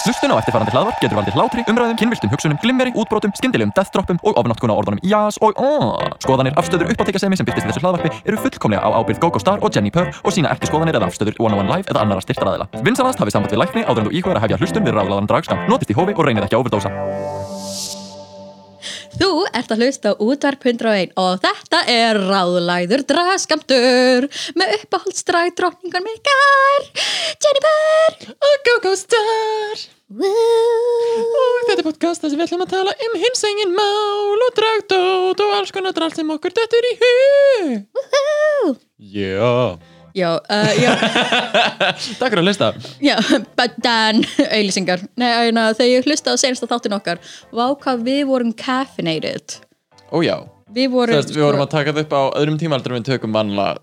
Hlustun á eftirfarandi hlaðvarp getur valdið hlátri, umræðum, kynviltum hugsunum, glimmeri, útbrotum, skyndilegum deathdroppum og ofnotkun á orðunum jás og aaaah. Skoðanir, afstöður, uppáttekasemi sem byrtist í þessu hlaðvarpi eru fullkomlega á ábyrgð GoGo Star og Jenni Purr og sína ekki skoðanir eða afstöður One on One Live eða annara styrtaraðila. Vinsanast hafið samband við lækni áður en þú íhugar að hefja hlustun við ráðlaðan dragskam. Notist í hófi og reynið ekki að overdósa. Þú ert að hlusta á útvarp 101 og þetta er ráðlæður draskamtur með uppáhaldsdrag drókningar mikar Jennifer og GoGo Star Woo. og þetta er podcast þar sem við ætlum að tala um hinsengin mál og dragdót og alls konar drall sem okkur dettur í hug Já Já, uh, já, Takk fyrir að lista já, bættan auðlýsingar Nei, en, uh, þegar ég hlusta á senasta þáttin okkar Vá hvað við vorum caffeinated Ó já Við vorum, Sest, Við vorum að taka þetta upp á öðrum tímaldur við tökum vanlega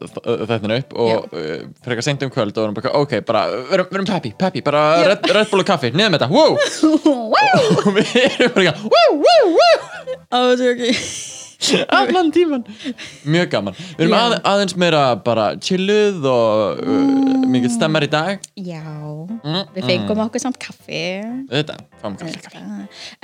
þetta upp og uh, frekar seint um kvöld og vorum bara ok, bara uh, verum, verum peppi, peppi, bara Já. Red, Red Bull og kaffi, niður með þetta, wow Wow, og við erum bara ekki, wow, wow, wow á þessu ekki allan tíman mjög gaman, við erum Já. að, aðeins meira bara chilluð og uh, mikið stemmar í dag Já, Mm, við fengum okkur samt kaffi þetta, fáum kaffi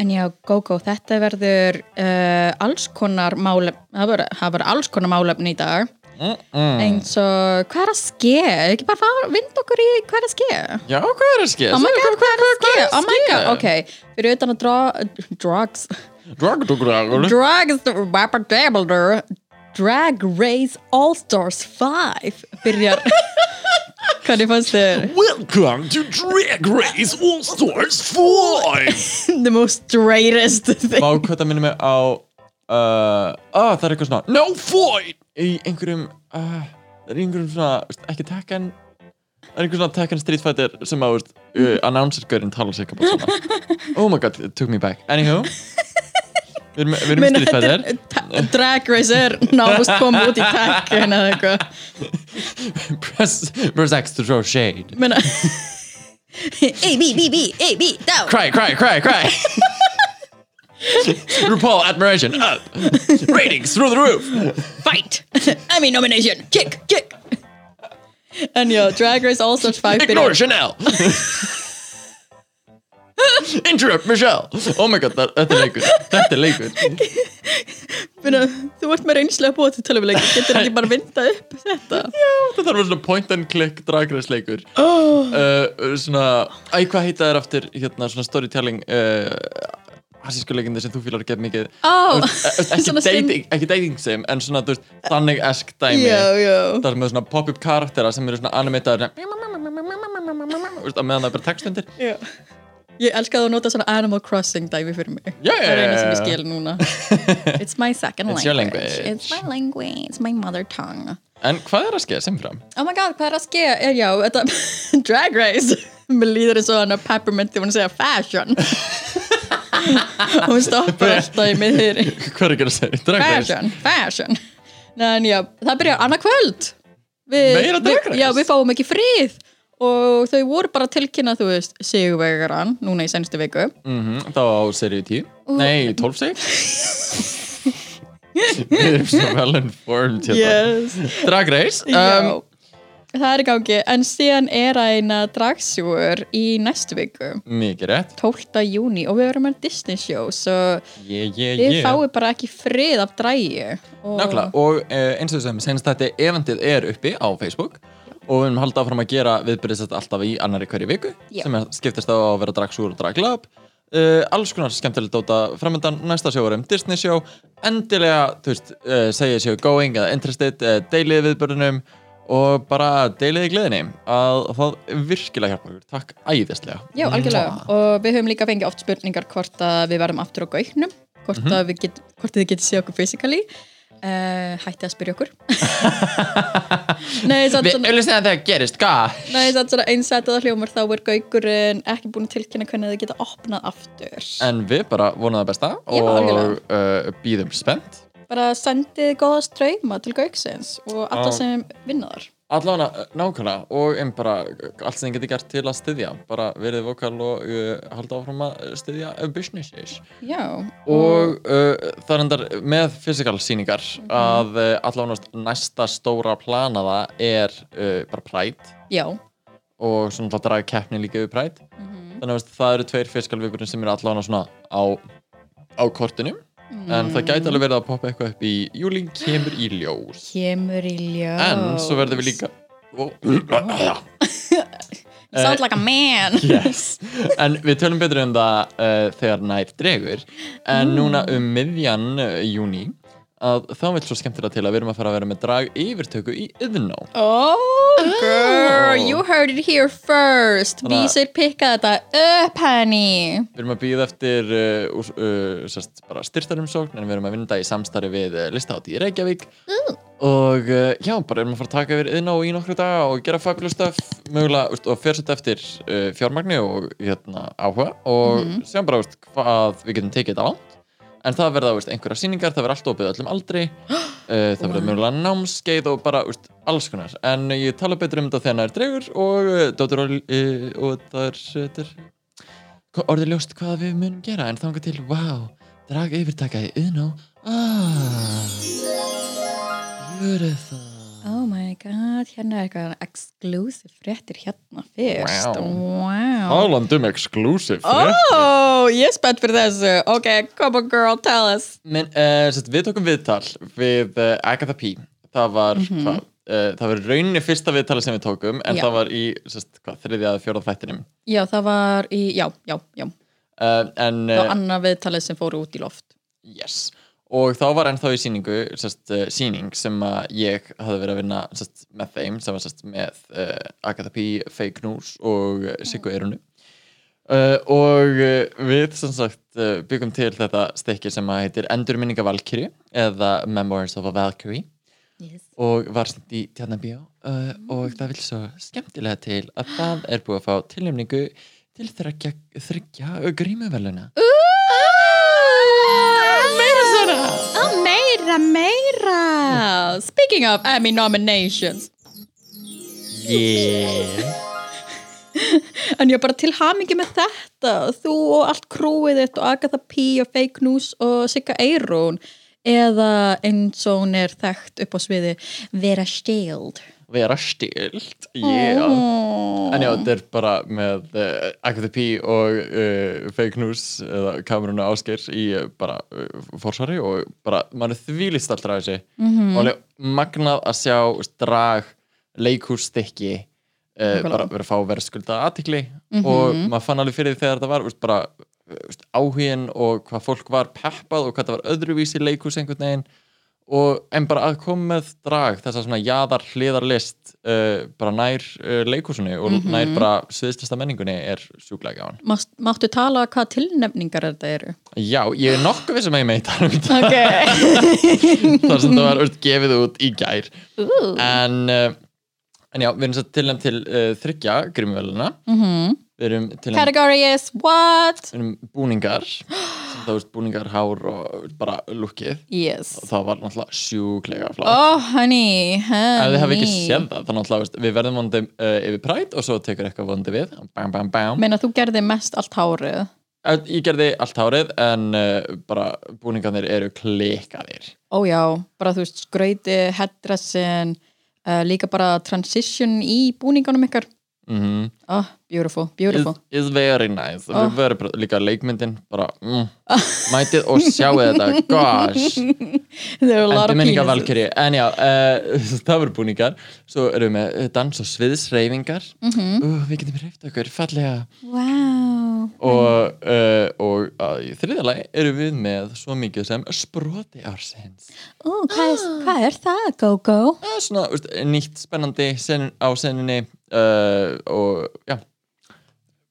En já, GóGó, þetta verður uh, alls konar málefni, það verður- það verður alls konar málefni í dag mm, mm. eins og hvað er að ske? Ekki bara fara, vind okkur í hvað er að ske? já, hvað er að ske? Oh my god, hvað er að ske? er að Oh my ske? god, ok, fyrir utan að dra, drugs, drag, drag, drag drugs, rapper dabbler, drag race all stars 5 byrjar, hvernig fannst þér? welcome to Drag Race All Stars 4 The most straightest thing. Vá, hvað það minnir mig á uh, ah, það er eitthvað svona no void í einhverjum uh, það er í einhverjum svona, veist, ekki Tekken það er einhver svona Tekken Street Fighter sem að, veist, uh, announcer-görinn tala sig eitthvað svona oh my god, it took me back anywho við erum, við erum í Meina, Street þetta Fighter er- ta- Drag Race er náðust komið út í tekken eða eitthvað press, press X to throw shade Meina A, B, B, B, A, B, down cry, cry, cry, cry RuPaul admiration up ratings through the roof Fight Emmy nomination Kick, kick En já, Drag Race All Stars 5 Ignore Chanel Interrupt Michelle Oh my god, það- þetta er leikur Þetta er leikur byrja, Þú ert með reynslega búið til tölvuleik Getur ekki bara vinda upp þetta Þetta þarf að vera svona point and click dragræsleikur uh, Svona Æ, hvað heita þær aftur hérna, svona storytelling uh, Hassísku leikindi sem þú fílar ekki mikið Ó, Þú veist, eh, ekki, svona sim- dating, ekki dating sim En svona, þú veist, þannig esk dæmi Já, já Það er með svona pop-up karaktera sem eru svona animatar að meðan það er bara textundir Já Ég elska að þú nota svona Animal Crossing dæmi fyrir mig Já, já, Það er eina sem ég já, já. skil núna It's my second It's language your language. It's my language, it's my mother tongue En hvað er að skeða sem fram? Oh my god, hvað er að ske? Er, já, þetta, drag race Mér líður eins og hann að peppermint Þegar hún segja fashion Hún stoppar alltaf í miðri Hvað er ekki að segja? Drag race? Fashion, fashion Nei, En já, það byrjar annað kvöld við, Meira Drag Race? við, Já, við fáum ekki frið Og þau voru bara að tilkynna, þú veist, sigurvegaran Núna í senstu viku Mhm, Það var á seríu 10 Nei, 12 seg Við erum svo well informed hérna. Yes Drag Race Já, um, það er í gangi En síðan er að eina dragsjúur í næstu viku Mikið rétt 12. júni og við verum með Disney show svo yeah, yeah, við yeah. fáum bara ekki frið af dræju og Nákvæmlega, og uh, eins og sem senst þetta eventið er uppi á Facebook og við erum haldið áfram að gera viðbyrðisett alltaf í annari hverju viku Já. sem er- skiptist á að vera dragsúr og draglab uh, alls konar skemmtileg dóta framöndan næsta sjó er um Disney sjó endilega, þú veist, uh, segja sjó going eða interested, uh, deilið viðbyrðinum og bara deilið í gleðinni að það virkilega hjálpa okkur takk æðislega já, algjörlega, og við höfum líka fengið oft spurningar hvort að við verðum aftur á gaugnum hvort, Mhm. mm við get, hvort þið getið séð okkur physically uh, hætti að spyrja okkur nei, satt Við svona auðvitað að það gerist, hvað? Nei, það er svona einsætið að hljómar þá er gaugurinn ekki búin að tilkynna hvernig þið geta opnað aftur. En við bara vonum það besta og uh, býðum spennt Bara sendið góða ströyma til gaugsins og alla Já. sem vinna þar. Allána, eh, nákvæmlega, og einn bara uh, allt sem þið getur gert til að styðja bara verið vokal og uh, halda áfram að uh, styðja uh, businesses Já. og uh, það er endar með physical sýningar að uh, allána næsta stóra planaða er uh, bara Pride Já. og svona þá dragi keppni líka við Pride mm -hmm. þannig að veist, það eru tveir fiskalvikurinn sem eru allan svona á, á kortinu en það gæti alveg verið að poppa eitthvað upp í júlín kemur í ljós Kemur í ljós en svo verðum við líka Ó. Sound eh, like a man yes. en við tölum betur um það uh, þegar nær dregur en núna um miðjan uh, júni að þá vil svo skemmtilega til að við erum að fara að vera með drag yfirtöku í yðná Oh girl, you heard it here first Þannig að- Vísir pikka þetta upp henni við erum að býða eftir uh, úr, uh, sest, bara styrtarumsókn en við erum að vinda í samstarfi við uh, listáti í Reykjavík og uh, já, bara erum að fara að taka yfir yðná í nokkru daga og gera fabulous stuff mögulega, úst, og fjörsett eftir uh, fjármagni og hérna, áhuga og mm -hmm. sjáum bara úst, hvað við getum tekið þetta langt en það verða úst, einhverja sýningar, það verða allt opið öllum aldri uh, það verða mögulega námskeið og bara úst, alls konar en ég tala betur um þetta þegar það er dreigur og, uh, Dóttir og, uh, og það er, þetta er Ko- orðið ljóst hvað við munum gera en þanga til, wow, drag yfirtaka í Uno ah, Gjörðu það Oh my god, hérna er eitthvað exclusive fréttir hérna fyrst Wow. Wow, Álandum exclusive Oh, ég er spennt fyrir þessu Ok, come on girl, tell us Men, uh, sett, Við tókum viðtal við uh, Agatha P Það var, hvað, uh, það var í rauninni fyrsta viðtali sem við tókum en Já. það var í sest, hvað, þriðja að fjóra þættinum Já, það var í, já, já, já uh, en, Það uh, var annað viðtalið sem fóru út í loft Yes. Og þá var ennþá í síningu, sest, uh, síning sem að ég hafði verið að vinna sest, með þeim, sem var sest, með uh, Agatha P, Fake News og uh, Siggu Eirunu. Uh, og uh, við sem sagt uh, byggum til þetta stekki sem að heitir Endurminninga Valkyrie eða Memoirs of a Valkyrie yes. og var sent í Tjarnabíó uh, og það vil svo skemmtilega til að það er búið að fá tilnefningu til þryggja, þryggja grímuveluna. Meira svona Ah! Meira, meira Speaking of Emmy nominations Yeah! En ég er bara til hamingi með þetta Þú og allt krúið þitt og Agatha P og Fake News og Sigga Eirún eða eins og hún er þekkt upp á sviði Vera Stild vera stilt yeah. Oh. en já, þetta er bara með uh, Agatha P og uh, Fake News eða kameruna Ásgeir í uh, bara uh, forsvari og bara, maður er þvílist allra þessi mm -hmm. og alveg magnað að sjá drag, leikhússtykki uh, Nákvæmlega. Mhm. bara verið að fá verðskulda aðtikli og maður fann alveg fyrir því þegar þetta var veist, bara eh, veist, áhugin og hvað fólk var peppað og hvað það var öðruvísi leikhús einhvern veginn og en bara að koma með drag þessa svona jaðar hliðarlist uh, bara nær uh, leikhúsinu og Mhm. nær bara sviðslista menningunni er sjúklega gáðan. Mást, Máttu tala um hvað tilnefningar þetta eru? Já, ég er nokkuð vissum að ég meita um þetta Ok þar sem það var veist, gefið út í gær en, uh, en já, við erum svo tilnæmt til uh, þryggja grímuveluna Mhm. við erum tilnæmt Category is what? um búningar sem það veist búningar, hár og bara lukkið Yes og það var náttúrulega sjúklega flá Oh honey, honey ef þið hafi ekki séð það, þá náttúrulega veist, við verðum vondi uh, yfir præt og svo tekur eitthvað vondi við bam, bam, bam. Meina þú gerði mest allt hárið Eh, ég gerði allt hárið en uh, bara búningarnir eru klikaðir Ójá, bara þú veist skrauti, headdressin uh, líka bara transition í búningunum ykkar mm -hmm. Oh, beautiful, is, beautiful is very nice og við verðum bara- líka leikmyndin bara mm, mætið og sjáu þetta gosh There are a lot of Endurminningar penises Valkyrie, en já, uh, það voru búningar Svo erum við með eh, dans og sviðsreyfingar mm Mhm. Við getum reyft okkur fallega Wow Og, uh, og uh, í þriðja lagi erum við með svo mikið sem sproti ársins Ó, hvað, er, hvað er það, Gogo? Það er svona úst, nýtt spennandi sen, á seninni uh, Og já,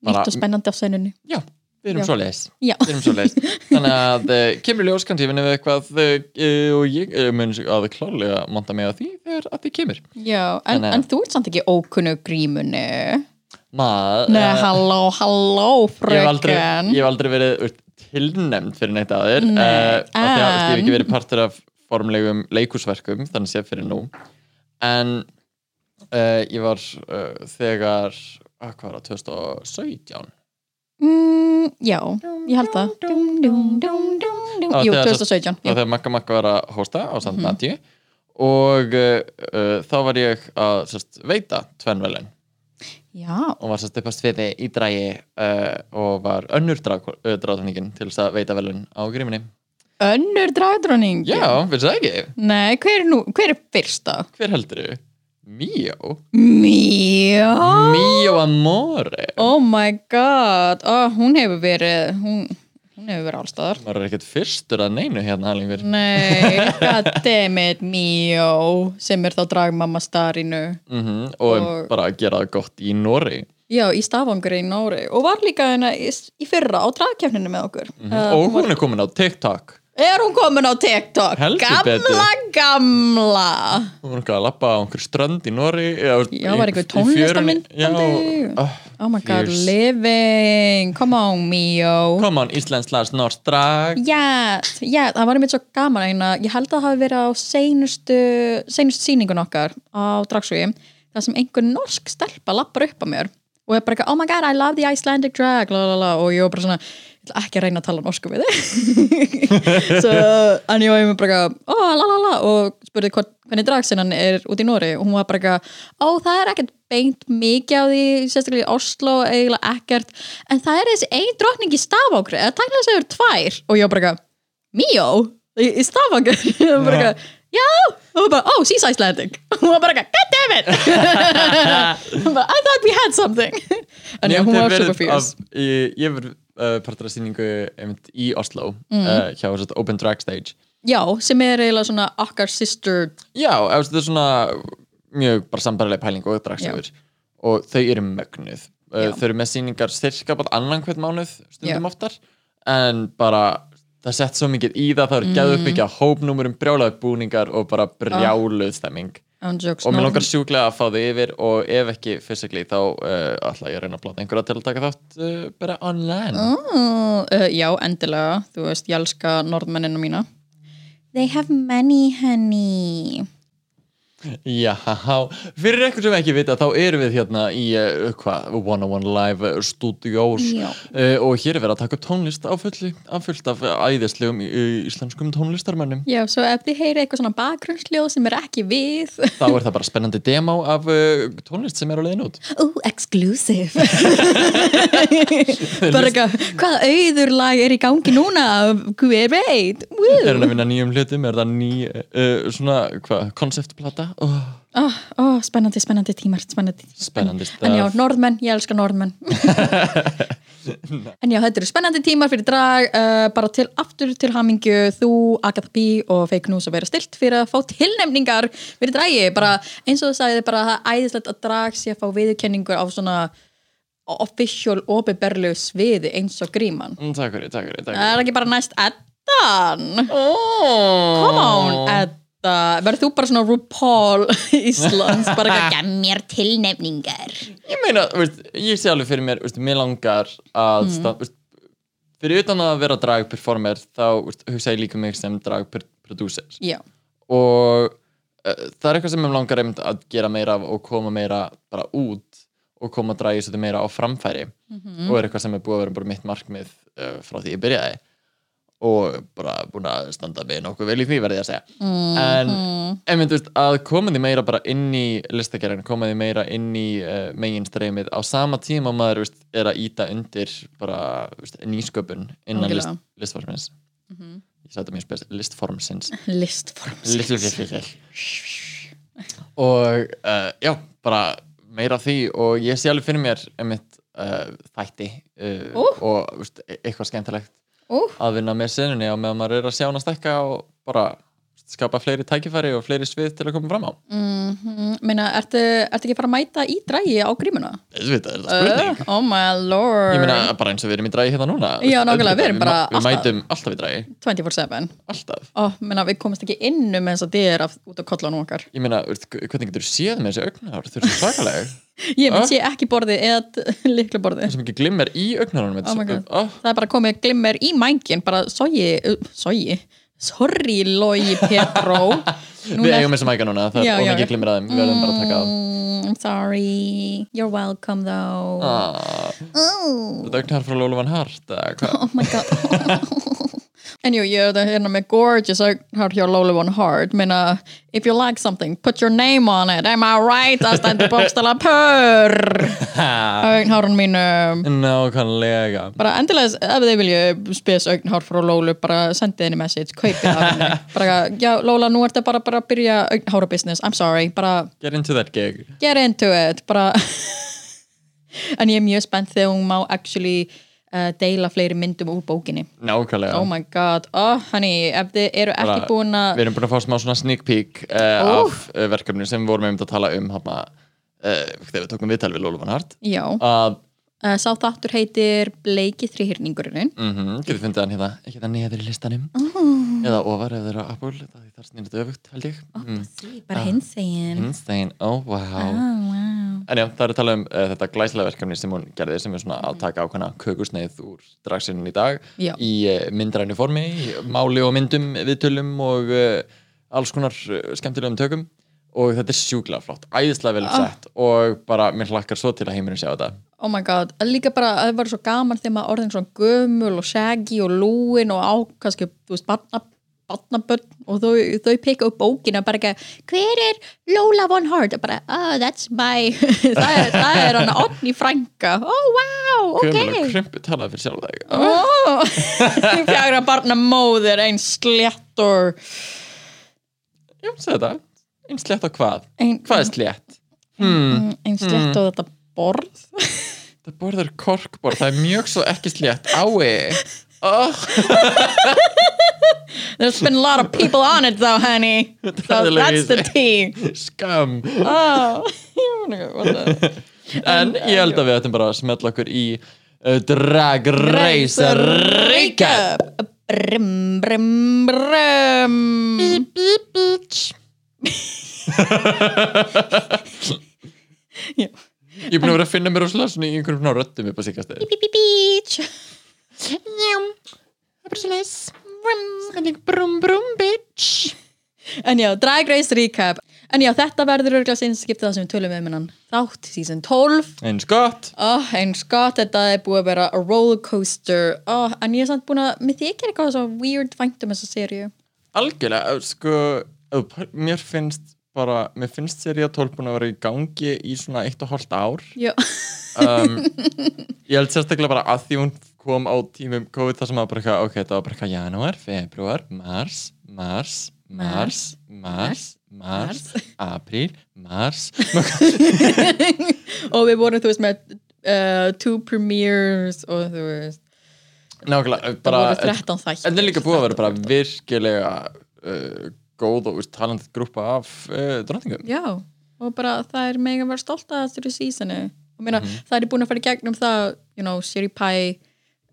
Bara- Nýtt og spennandi á sennunni já, við erum Já. svo leis Já, Við erum svo leis Þannig að uh, kemur í ljós kannski vinnum við eitthvað uh, Og ég uh, mun að klálega monta mig á því þegar að því kemur já, en, Þannig að- en þú ert samt ekki ókunnu grímunni Maður Nei, halló, halló, ég hef aldrei, fröken ég hef aldrei verið úst, tilnæmd fyrir neitt að þér Nei, Nei, Ah. uh, af því að úst, ég hef en- ekki verið partur af formlegum leikúsverkum þannig séð fyrir nú en uh, ég var uh, þegar að hvað var það, 2017 mm, Já, ég held það Dum, dum, dum, dum, dum. Það var Jú, þegar- þá 2017 já. Mhm. þegar Magga Magga var að hósta á samt eh, Nadju og uh, uh, þá var ég að sérst, veita tvennvelin Já, og var sérst upp á sviði í dragi uh, og var önnur dráttuningin til þess að veita velun á gríminni önnur dragdróning Já, finnst það ekki? Nei, hver er, nú, hver er fyrst þá? Hver heldur þú? Míó? Mjá Míó Amore Oh my god oh, Hún hefur verið hún, hún hefur verið allstaðar maður er ekkert fyrstur að neinu hérna alveg mm Nei, goddammit Mjó sem er þá dragmamma starinu -hmm, og, Og- bara að gera það gott í Nóri Já, í stafangur í Nóri og var líka hérna í, í fyrra á dragkefninu með okkur uh, Mhm, og hún er komin á TikTok Er hún komin á TikTok? Heldur gamla, betur. gamla hún er okkar að lappa á einhver strönd í Nóri eða, Já, var einhver í- í fjörunni. tónlistarmyndbandi. Já, oh, Oh my god, Fierce. living Come on, Mjó Come on, Íslands slags Norsk drag Yes, yes, það var einmitt svo gaman eina. ég held að það hafi verið á seinustu seinustu sýningun okkar á dragsvíi, þar sem einhver norsk stelpa lappar upp að mér og er bara eitthvað, oh my god, I love the Icelandic drag la, la, la, og ég var bara svona, ég ætla ekki að reyna að tala norsku við þig so, en ég var einmitt bara eitthvað, oh, la, la, la og spurði hvort, hvernig dragsinnan er út í Nóri og hún var bara eitthvað, ó, það er ekkert beint mikið á því, sérstaklega í Oslo eiginlega ekkert, en það er þessi ein drottning í stafangri, eða tæknilega segur tvær og ég var bara eitthvað, Mio? Í, í stafangri? og hún bara eitthvað, já, og hún bara, oh, she's Icelandic og hún var bara eitthvað, god damn it hún bara, I thought we had something en já, hún var super fierce ég, ég verið uh, partur af sýningu einmitt í Oslo Mm. uh, hjá þess Open Drag Stage já, sem er eiginlega svona okkar sister Já, eða þetta er svona mjög bara sambarileg pæling og dragstofur og þau eru mögnuð uh, Já. þau eru með sýningar styrka bara annan hvern mánuð stundum Já. oftar en bara það sett svo mikið í það það eru mm. geðuppbyggja hópnúmurum, brjálaðu búningar og bara brjáluð stemming on jokes, og mér no. langar sjúklega að fá þau yfir og ef ekki physically þá uh, ætla ég að reyna að blata einhverja til að taka þátt uh, bara online Oh, uh, já, endilega, þú veist, ég elska norðmennina mína They have many honey Já, fyrir eitthvað sem ekki vita þá erum við hérna í uh, hvað, One on One Live uh, Studios Já. uh, og hér er verið að taka upp tónlist á fullu, að fullt af uh, æðislegum uh, íslenskum tónlistarmönnum Já, svo ef þið heyrið eitthvað svona bakgrunnsljóð sem er ekki við þá er það bara spennandi demo af uh, tónlist sem er á leiðin út Ú, exclusive Bara eitthvað, hvaða auðurlag er í gangi núna Hver veit er Woo. hann að vinna nýjum hlutum, er það ný uh, svona, hvað, konceptplata oh, Ó, ó, spennandi, spennandi tímar Spennandi tímar spennandi En já, staf norðmenn, ég elska norðmenn En já, þetta eru spennandi tímar fyrir drag uh, bara til aftur til hamingju þú, Agatha B og Fake News að vera stilt fyrir að fá tilnefningar fyrir dragi, bara eins og þú sagði bara það er æðislegt að drag sé að fá viðurkenningur á svona official, opiberlegu sviði eins og gríman Mm, Takk fyrir, takk fyrir, takk Það fyrir er ekki bara næst Eddan Come Come on, Edda Verður þú bara svona RuPaul Íslands bara ekki að gef mér tilnefningar Ég meina, veist, ég sé alveg fyrir mér, veist, mér langar að mm. veist, fyrir utan að vera dragperformer þá veist, hugsa ég líka mig sem dragproducer Já, og uh, það er eitthvað sem mér langar einmitt að gera meira af og koma meira bara út og koma dragi svolítið meira á framfæri og er eitthvað sem er búið að vera bara mitt markmið uh, frá því ég byrjaði og bara búin að standa við nokkuð vel í því verði ég að segja en einmitt þú veist, að koma því meira bara inn í listagerðin, koma því meira inn í uh, meginstreymið á sama tíma og maður þú veist, er að íta undir bara þú veist, nýsköpun innan list, Algjörlega. listformins ég sagði þetta mjög spes, listformsins listforms Little Little og uh, já, bara meira af því og ég sé alveg fyrir mér einmitt uh, þætti uh, Ú. og veist, e- eitthvað skemmtilegt Ú, að vinna með senunni á meðan maður er að sjá hana stekka og bara skapa fleiri tækifæri og fleiri svið til að koma fram á mhm, meina, ertu, ertu ekki að fara að mæta í dragi á grímuna? Þetta er spurning Uh, oh my lord Ég meina bara eins og við erum í dragi hérna núna Já, nákvæmlega, við erum ma- bara Við alltaf- mætum alltaf í dragi, 24-7 alltaf oh, meina, Við komumst ekki um innu með þess að þið er út á kollanum okkar Ég meina, veist, hvernig getur þú séð með þessi augnhár? Þú eru svo svakaleg Ég Ah. veit sé ekki borðið eða líkla borðið Það sem ekki glimmar í augnhárunum Oh my god. oh, Það er bara komið glimmer í mængin bara sogi, sogi Sorry, Logi Petró Við eigum þessum ægja núna, það Já, er já, ómikið já. glimrað þeim, við verðum bara að taka af. mm, I'm sorry, you're welcome though Ah, oh. Þetta auknar frá Lólu Van Hart, eða hvað? oh my god En jú, ég er þetta hérna með gorgeous har hjá Lowly One Heart meina, if you like something, put your name on it am I right, það stendur bókstala purr Ha, augnhárun mínum Nákvæmlega bara endilega, ef þið vilju spes augnhár frá Lólu, bara sendið henni message kaupið af henni, bara já Lóla, nú ertu bara, bara að byrja augnhára business I'm sorry, bara Get into that gig get into it bara en ég er mjög spennt þegar hún má actually uh, deila fleiri myndum úr bókinni Nákvæmlega oh my god, oh honey ef þið eru ekki Bara- búin að Við erum búin að fá smá svona sneak peek uh, Ó. af uh, verkefni sem við vorum einmitt að tala um hana, uh, þegar við tókum viðtal við Lólu Van Hart já, að uh, sá þáttur heitir Bleiki þrýhyrningurinn mm getur fundið hann hérna, hérna neður í listanum Mm. eða ofar ef þeir eru á Apple það þar snýrðu öfugt held ég mm. bara hins egin Einstein, oh Ah. wow En já, það er að tala um uh, þetta glæslega verkefni sem hún gerði sem er svona að taka ákveðna kökusneið úr dragsinn í dag Já. í uh, myndrænu formi, í máli og myndum viðtölum og uh, alls konar uh, skemmtilegum tökum og þetta er sjúklega flott, æðislega Ah. vel sett og bara mér hlakkar svo til að heimurinn sjá þetta Oh my god, líka bara að það var svo gaman þegar maður orðin svona gömul og shaggy og lúin og á, kannski, þú veist, barna, barnabönn og þau, þau peka upp bókina bara ekki, hver er Lola Von Hart? Og Bara, oh, that's my, það er, það er hann Otni Franka, oh wow, Gömul og ok. krumpu talaði fyrir sjálf þig Ah, Oh, fjagra barna móðir, ein slettur, Já, segðu þetta, einn slett á hvað Ein- Hvað er slett? ein slett og þetta borð. Það borður korkbor, það er mjög svo ekki slett Ái oh, There's been a lot of people on it though, honey. So that's the tea. Skam Oh, ég veit ekki hvað það er. En ég held að við ættum bara að smetla okkur í uh, Drag Race Reisa Recap recap Brim, brim, brim Bíp, bíp, bíp Ég er búin að vera að finna mér rosalega svona í einhverjum svona röddum upp á síkast Bíp, bíp, bíp Njám, það er bara svona leis Spenning brum brum bitch En já, Drag Race recap En já, þetta verður örgla sinns skiptið það sem við tölum um innan Þátt, season 12 Eins gott oh, Eins gott, þetta er búið að vera a rollercoaster oh, En ég er samt búin að, mér þykir eitthvað svo weird væntum þessa seríu Algjörlega, eh, sko eh, p- Mér finnst bara, mér finnst serið að tólpun að vera í gangi í svona eitt og hálft ár Já, um, ég held sérstaklega bara að því hún kom á tímum COVID þar sem að bara eitthvað, ok, það var bara eitthvað janúar, februar, mars, mars, mars, mars, mars, apríl, mars og við vorum, þú veist, með uh, two premieres og þú veist nákvæmlega, Það bara voru en 13 þættir þetta er líka búið að vera bara virkilega uh, góð og talandi grúpa af uh, drottingum Já, og bara það er mega að vera stolt að þessari sísonu og meina, Mhm. það er búin að fara í gegnum það you know, Siri Pie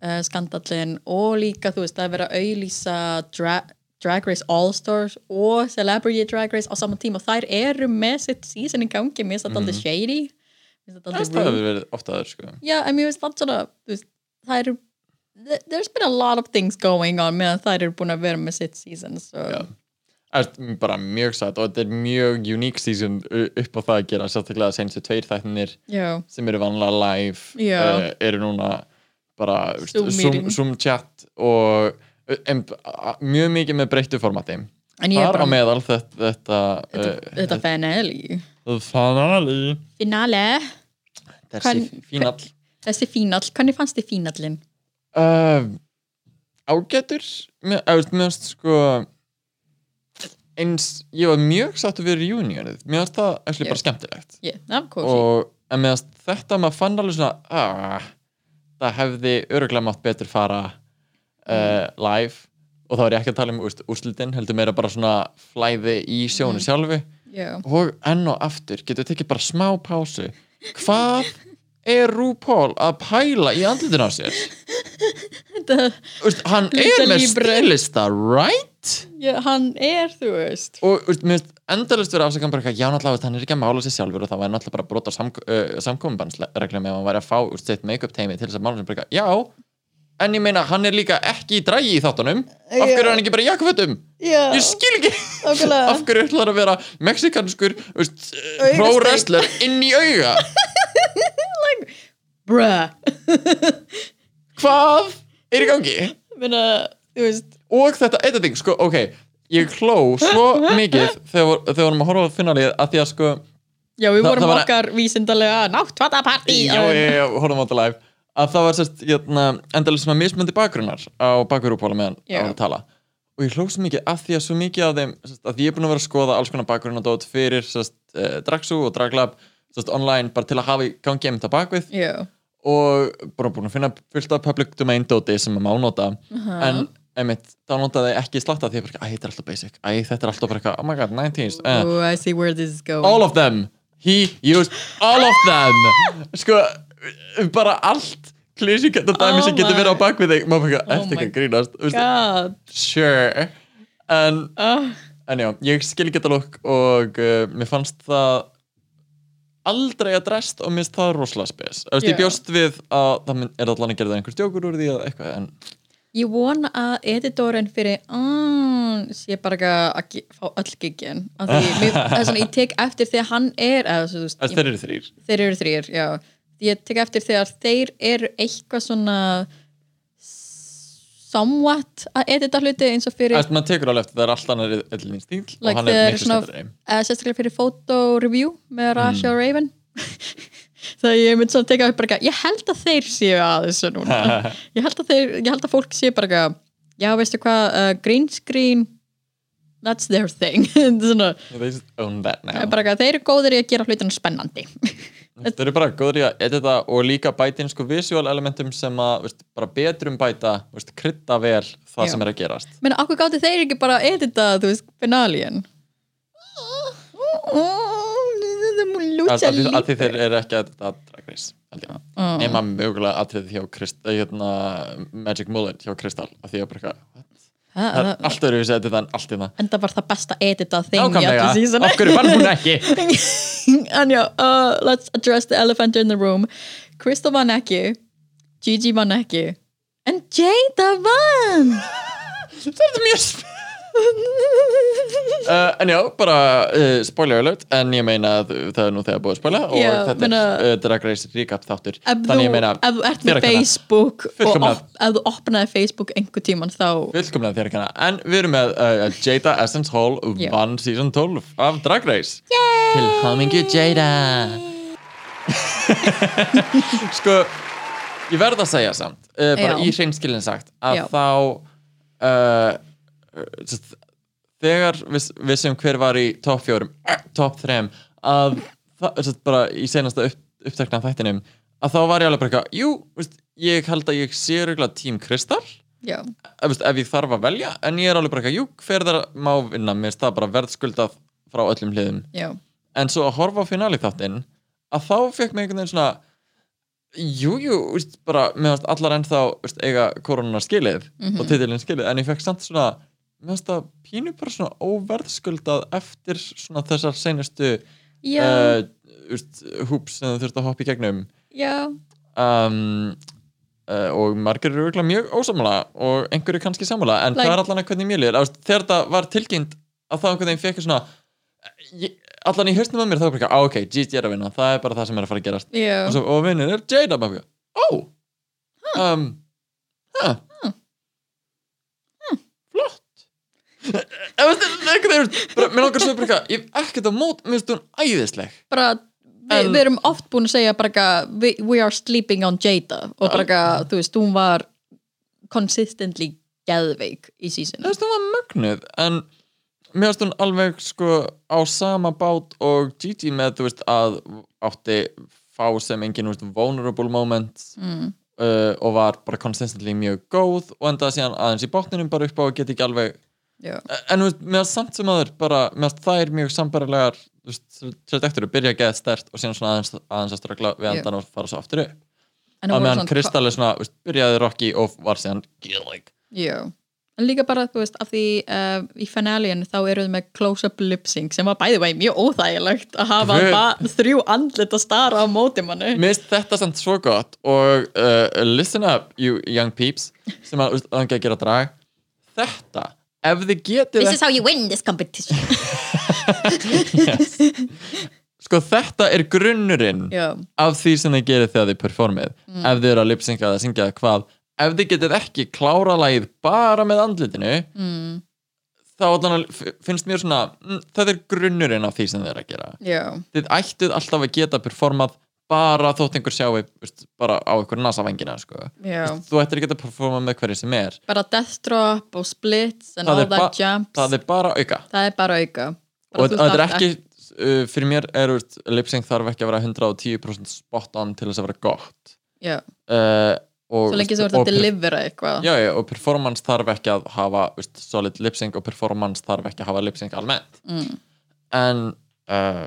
uh, skandallin og líka, þú veist, það er verið að auðlýsa dra Drag Race All Stars og Celebrity Drag Race á saman tíma og þær eru með sitt season í gangi, mér finnst það aldrei shady mér Mhm. finnst það það hefur aldrei verið oft aður sko Já, en mér finnst það svona, þú veist, það eru th- there's been a lot of things going on meðan þær eru búin að vera með sitt season so. Já. Ert bara mjög satt og þetta er mjög unique season u- upp á það að gera sérstaklega senstu tveir þættinir Já, sem eru vanlega live Já. eh, eru núna bara veist, Zoom meeting. Zoom, Zoom chat og eh, em, a- mjög mikið með breyttu formati en ég er þar á bara meðal þetta þetta, eh, þetta, þetta finale uh, finale finale þessi Hvern- fínall Þessi fínall, hvernig fannst þið fínallin? uh, ágætur með, að, veist, með sko eins, ég var mjög sattu við reunionið, mér finnst það actually bara Já. skemmtilegt Yeah, of course. og en meðan þetta maður fann alveg svona ah, það hefði öruglega mátt betur fara uh, live og þá er ég ekki að tala um úst, úrslitin heldur meira bara svona flæði í sjónu sjálfu Yeah. og enn og aftur getur við tekið bara smá pásu hvað er RuPaul að pæla í andlutinu á sér Þetta, úst, hann Lita er með Libre. stilista right? já, hann er, þú veist. og þú veist, mér finnst endalist verið afsökan bara eitthvað, já náttúrulega þú veist, hann er ekki að mála sér sjálfur og það var náttúrulega bara að brota samk uh, samkominbannsreglum ef hann væri að fá úr sitt make-up teimi til þess að mála sér bara eitthvað, já en ég meina hann er líka ekki í dragi í þáttunum af hverju er hann ekki bara í jakkafötum Já, ég skil ekki okkurlega. af hverju ætlar að vera mexikanskur þú veist, Augasteinn. pro-wrestler inn í auga Bruh. hvað er í gangi Minna, þú veist, og þetta editing, sko, ok ég hló svo mikið þegar þegar vorum að horfa á finalið að því að sko já við Þa- vorum það var- okkar vísindalega náttvallapartí já, já, já, horfum á þetta live að það var sérst, hérna, endalega svona mismöndi bakgrunnar á bakgrúpála meðan Já. á að tala og ég hló svo mikið að því að svo mikið af þeim, sérst, að ég er búin að vera að skoða alls konar bakgrunnadót fyrir sérst, eh, Draxu og Draglab sérst, online bara til að hafa í gangi einmitt að bakvið já, og bara búin að finna fullt af public domain dóti sem maður má nota Aha. en einmitt, þá notaði ég ekki slatta því að bara, æ, þetta er alltaf basic, æ, þetta er alltaf bara eitthvað, oh my god, 90s uh, oh I see where this is going all of them he used all of them sko, bara allt klísingata dæmi Oh sem getur my- verið á bak við þig maður fyrir Oh eitthvað, eftir my ekki að grínast Þú veist, god sure en, oh, en já, ég skil geta lukk og uh, mér fannst það aldrei að drest og minnst það rosalega spes Þú veist, Já. ég bjóst við að það mun- er allan að gera það einhver stjókur úr því eða eitthvað en ég vona að editorinn fyrir mm, sé bara ekki að ge- fá öll gigin af því, mér, það er svona, ég tek eftir þegar hann er eða, svo, þú veist, þess, þeir eru þrýr þeir eru þrýr, já ég tek eftir þegar þeir eru eitthvað svona somewhat að edita hluti eins og fyrir Æst, maður tekur alveg eftir það er alltaf annar eðlinn stíl Like, og hann er þeir eru miklu Mm. svona- skemmtari eða sérstaklega fyrir photo review með Rasha og Raven þegar ég mynd svona að teka upp bara eitthvað, ég held að þeir séu að þessu núna ég held að, þeir, ég held að fólk sé bara eitthvað, já veistu hvað, uh, green screen that's their thing Þetta er svona, they just own that now það er bara eitthvað, þeir eru góðir í að gera hlutina spennandi Þeir eru bara góður í að edita og líka bæta inn sko visual elementum sem að veist, bara betrum bæta, veist, krydda vel það Já. sem er að gerast. menn okkur gátu þeir ekki bara að edita þú veist, finalien Að, lúta að, því- að því lífi þeir eru ekki að edita Drag Race. Ah. Oh. Nefna mögulega atrið hjá Krist, eh, hérna, Magic Mullet hjá Kristall að því að bara eitthvað, what? Ha, það það- er allt öðruvísi að edita en allt í það. enda var það besta edita þing í Nákvæmlega, allir sísona af hverju vann hún ekki? en já, uh, let's address the elephant in the room Crystal vann ekki Gigi vann ekki en Jada vann það er mjög sp... Uh, en já, bara uh, spoiler alert, en ég meina að það er nú þegar búið að spoila og Já, þetta meina- er uh, Drag Race recap þáttur ef þú, ég meina, ef þú ert þér með að kenna. Facebook og Fullkomlega. op, ef þú opnaði Facebook einhver tíman þá Fullkomlega þér kannar, en við erum með uh, Jada Essence Hall Já. vann season 12 af Drag Race Yay! Til hamingju Jada Sko, ég verð að segja samt, uh, bara Já. í hreinskilin sagt að Já. þá uh, sest, þegar við, við sem hver var í topp fjórum, topp þrem að það, sest, bara í senasta upp, upptekna þættinum að þá var ég alveg bara eitthvað, jú, veist, ég held að ég sé röglega tím Kristall já, ef, veist, ef ég þarf að velja en ég er alveg bara eitthvað, jú, hver þeirra má vinna mér finnst það bara verðskuldað frá öllum hliðum já, en svo að horfa á finali þáttinn að þá fekk mig einhvern veginn svona jú, jú, veist, bara mér finnst allar ennþá veist, eiga koronar skilið Mhm. og titilinn skilið, en ég fekk samt svona mér finnst það pínu bara svona óverðskuldað eftir svona þessar seinustu já, uh, veist, hoops sem þau þurftu að hoppa í gegnum já. um, uh, og margir eru örugglega mjög ósammála og einhverju kannski sammála en Like- það er allan að hvernig mér líður Þú veist, þegar þetta var tilkynnt að það einhvern veginn fekk svona ég, allan í höstnum að mér þá var bara eitthvað, á ok, Gigi er að vinna það er bara það sem er að fara að gerast já. og, svo, og vinnin er Jada bara, ó um, huh. Hmm. flott Ef þetta er einhvern veginn, bara, mér langar svo bara eitthvað, ég hef ekkert á mót, mér finnst hún æðisleg bara við, En- við erum oft búin að segja bara eitthvað, we, we are sleeping on Jada og bara eitthvað, þú veist, hún var consistently geðveik í Þú sísinu veist, hún var mögnuð en mér finnst hún alveg sko á sama bát og Gigi með þú veist að átti fá sem engin þú veist, vulnerable moment mm. uh, og var bara consistently mjög góð og endaði síðan aðeins í botninum bara upp á og geti ekki alveg já, en þú veist, mér finnst samt sem aður bara mér finnst það er mjög sambarilegar þú veist, trajektur, byrja að geða stert og síðan svona aðeins, aðeins að ströggla við Já. endan og fara svo aftur upp að en hún var meðan svona Kristall er svona, þú veist, byrjaði Rocky og var síðan gillig já, en líka bara, þú veist, af því uh, í finalin þá eru þau með close-up lip-sync sem var bæði vei mjög óþægilegt að hafa Guð. ba- þrjú andlit að stara á móti manni Mér finnst þetta samt svo gott og uh, listen up you young peeps sem að langa að gera drag þetta, ef þið getið this is how you win this competition ekki- sko þetta er grunnurinn já, Mm. af því sem þið gerir þegar þið performið ef þið eru að lipsynka eða syngja eða hvað ef þið getið ekki klára lagið bara með andlitinu mm, þá allan að- f- finnst mér svona mm, það er grunnurinn af því sem þið er að gera já, þið ættuð alltaf að geta performað bara þótt einhver sjái veist, bara á einhver nasavengina sko. já þú ættir að geta performað með hverju sem er bara death drop og splits and Það all er that ba- jumps það er bara auka það er bara auka bara og þú það er þarft ekki uh, fyrir mér er lipsing þarf ekki að vera 110% spot on til þess að vera gott já, uh, og, svo lengi sem þú ert og að per- delivera eitthvað já, já, og performance þarf ekki að hafa veist, solid lipsing og performance þarf ekki að hafa lipsing almennt mm, en, uh,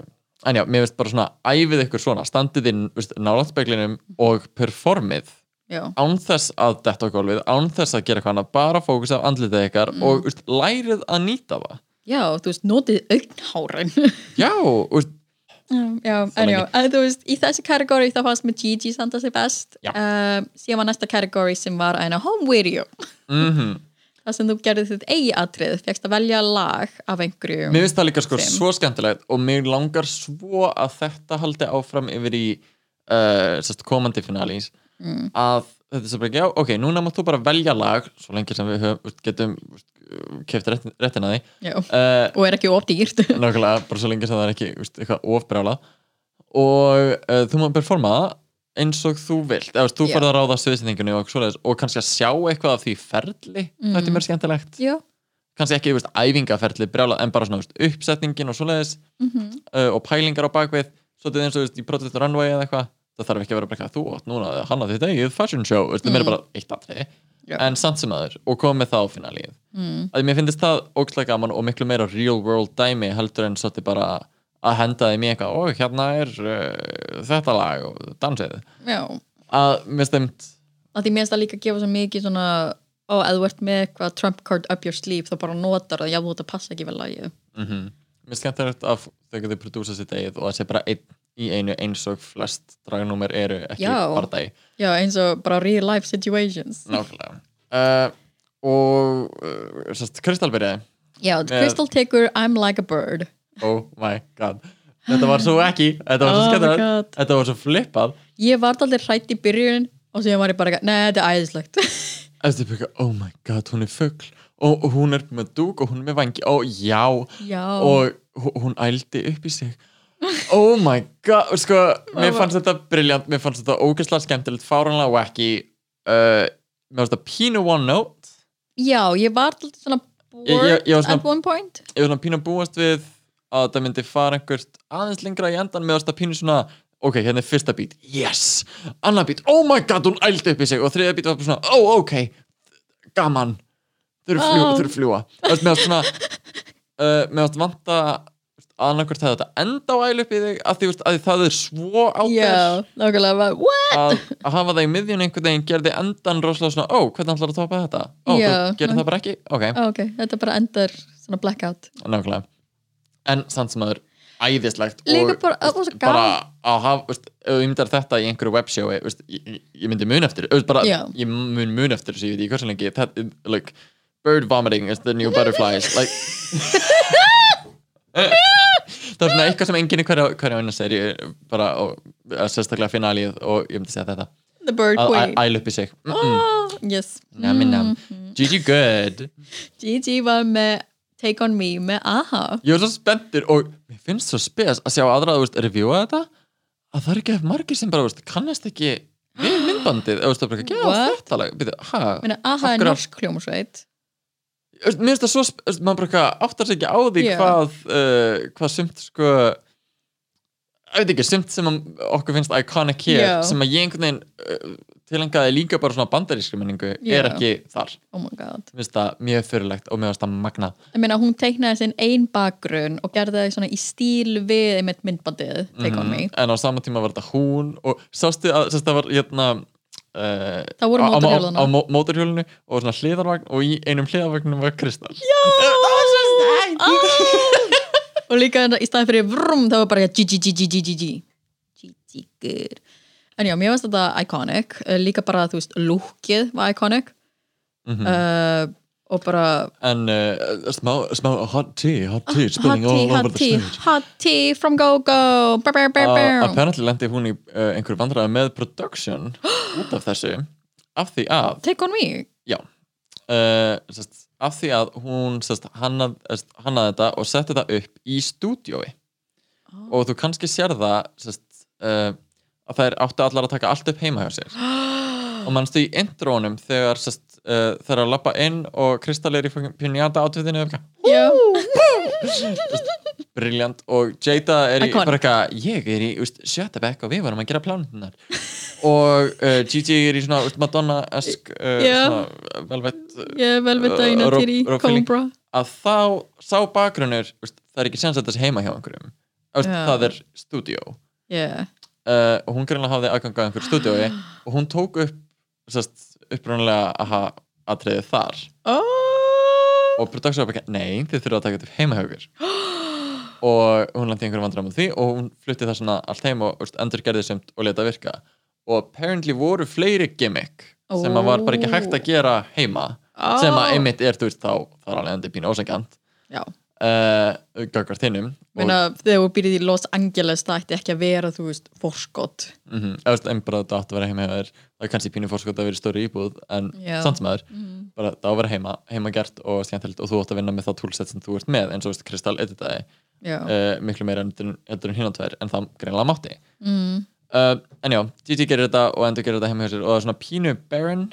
en já, mér veist bara svona æfið ykkur svona, standið inn nálaðspeglinum og performið já, án þess að detta á gólfið, án þess að gera eitthvað annað, bara fókusa á andlitið ykkar Mm. og veist, lærið að nýta það já, þú veist, notið augnhárin já, veist, Um, já, Svo en lengi. já, en þú veist, í þessi kategóri þá fannst mér Gigi standa sig best Já. um, síðan var næsta kategóri sem var eina home video, mhm það sem þú gerði þitt eigi atrið, fegst að velja lag af einhverju, Mér finnst það líka sko Same. svo skemmtilegt og mér langar svo að þetta haldi áfram yfir í uh, sest, komandi finalís Mm. að þetta er svo bara, já, ok, núna mátt þú bara velja lag svo lengi sem við höfum, getum keft réttin, réttin að því já, uh, og er ekki ódýrt nákvæmlega, bara svo lengi sem það er ekki veist, eitthvað ofbrjála og uh, þú maður performa það eins og þú vilt, eða veist, þú Já. yeah. farið að ráða sviðsendingunni og svoleiðis og kannski að sjá eitthvað af því ferli, þetta Mm. er mér skemmtilegt já, kannski ekki, þú veist, æfingaferli brjálað, en bara svona, þú veist, uppsetningin og svoleiðis mhm, uh, og pælingar á bakvið svolítið eins og, þú veist, í Project Runway eða eitthvað það þarf ekki að vera bara eitthvað, þú átt núna að hanna þitt eigið fashion show, þú veist, það mm. er bara eitt atriði Mhm. Já. en samt sem aður, og komið það á finalið mm, að mér finnst það ógstlega gaman og miklu meira real world dæmi heldur en svolítið bara að henda þeim í eitthvað, og hérna er uh, þetta lag og dansið já að mér stemt, að því mér finnst það líka að gefa svo mikið svona ó, eða þú ert með eitthvað trump card up your sleeve þá bara notar það, já, þú þetta passa ekki vel lagið mm -hmm. mér skemmt er að þau getur prodúsað sitt eigið og það sé bara einn í einu eins og flest dragnúmer eru ekki Já. bardagi já, eins og bara real life situations Nákvæmlega uh, Og uh, sérst, Kristalbyrjaði já, Crystal tekur I'm like a bird Oh my god Þetta var svo ekki, þetta var svo Oh my skemmtilegt God. Þetta var svo flippað ég var aldrei hrætt í byrjun og síðan var ég bara, eitthvað, nei, þetta er æðislegt Þetta er bara, eitthvað, oh my god, hún er fuggl og og hún er með dúk og hún er með vangi Ó já, já, og hú- hún ældi upp í sig Oh my god, og sko Mér var- fannst þetta briljant, mér fannst þetta ógeðslega skemmtilegt, fáránlega og ekki uh, Mér fannst þetta pínu one note já, ég var aldrei svona Ég- bored ég- ég var svona- at one point ég var svona pínu að búast við að það myndi fara einhvert aðeins lengra í endan með þetta pínu svona ok, hérna er fyrsta bít, yes annar bít, oh my god, hún ældi upp í sig og þriða bít var bara svona, oh ok gaman, þau eru fljúa, Ó. þau eru fljúa þú veist, mér varst svona uh, mér varst vanta annarkvært hefði þetta enda á ælu upp í þig af því, þú veist, að því það er svo ábæð já, nákvæmlega, bara, what? að, að hafa það í miðjun einhvern veginn gerði endan rosalega svona, ó, hvernig ætlar að topa þetta ó, Já. þú gerir það bara ekki, ok Ah, ok, þetta bara endar svona blackout Nákvæmlega En samt sem aður æðislegt Líka og, bara- það var veist, svo gaman. bara að hafa, veist, ef þú myndar þetta í einhverju webshowi veist, ég, ég myndi mun eftir veist, bara, Já. ég mun mun eftir þessu, ég veit ekki hversu lengi þetta, like, bird vomiting is the new butterflies like það er svona eitthvað sem enginn í hverja, hverja unna seri bara, og, að sérstaklega finalið og ég myndi segja þetta the bird að queen æ- æla upp í sig mm Ah, -mm. Ah, yes Nam, nam. Gigi good Gigi var með Take On Me með AHA ég var svo spenntur og mér finnst svo spes að sjá aðra þú veist, reviewa þetta að það er ekki margir sem bara þú veist, kannast ekki við myndbandið eða þú veist, það er bara ekki að What? þetta lag byrja, ha, Meina, AHA er Akkurat. norsk hljómsveit Þú veist, mér finnst það svo sp- þú veist, maður bara eitthvað áttar sig ekki á því Já. hvað uh, hvað sumt sko ég veit ekki, sumt sem að okkur finnst iconic hér, Já. sem að ég einhvern veginn uh, tilengaði líka bara svona bandarískri menningu Já. er ekki þar, Oh my god mér finnst það mjög fyrirlegt og mér finnst það magnað Ég meina, hún teiknaði sinn ein bakgrunn og gerði það svona í stíl við einmitt myndbandið Take On Me Mhm. en á sama tíma var þetta hún og sástu að sástu að það var hérna Uh, Það voru á- á- mótorhjólana. á, á mó- mótorhjólinu og svona hliðarvagn og í einum hliðarvagnum var Kristall já, það var svo stætt og líka hérna í staðin fyrir vrum það var bara gggggggg ggggur en já, mér finnst þetta iconic Eh, líka bara, þú veist, lúkið var iconic Mhm. uh, og bara en uh, smá, smá hot tea hot tea hot spilling tea, all hot over the tea, stage hot tea from go-go Brr, brr, brr, uh, brr. eh, apparently lendi hún í uh, einhverju vandræði með production út af þessu af því að Take on me uh, sest, af því að hún sest, hannað, sest, hannað þetta og setti það upp í stúdiói Ó. og þú kannski sér það sest, uh, að þær áttu allar að taka allt upp heima hjá sér og mannstu í intrónum þegar sest, uh, þær eru að lappa inn og Kristal er í pinjata átviðinu Já, briljant og Jada er í Icon. bara eitthvað, ég er í úst, sjötta bekk og við varum að gera plánutinnar og uh, Gigi er í svona úst, Madonna-esk uh, Já. svona eh, velvett ég er vel við dæna Uh, Rob- til í Rob Feeling. Cobra að þá sá bakgrunnur úst, það er ekki sens að þetta sé heima hjá einhverjum úst, Já. það er stúdíó yeah. uh, og hún greinlega hafði aðgangað einhverju stúdíói og hún tók upp sest, upprunalega aha atriðið þar oh. og production var ekki, nei, þið þurfa að taka þetta upp heima hjá ykkur og hún landi einhverjum vandræðum á því og hún flutti það svona allt heim og úst, endur gerði sumt og leta virka og apparently voru fleiri gimmick sem að var bara ekki hægt að gera heima sem að einmitt er, þú veist, þá þar alveg endur pínu ósangant Já. uh, gaggar þinnum Meina, þegar þú býrið í Los Angeles það ætti ekki að vera, þú veist, forskott mm -hmm, en bara þetta átt að vera heima hjá þér það er kannski pínu fórskot að vera í stóri íbúð en Já. samt sem aður, mm. bara það á að vera heima heima gert og skemmtilegt og þú átt að vinna með það toolset sem þú ert með, eins og veist, Kristall editaði Já, uh, miklu meira heldur, heldur en hinn á tvær en það greinlega mátti mm. uh, en já, Gigi gerir þetta og endur gerir þetta heima hjá sér og það er svona pínu barren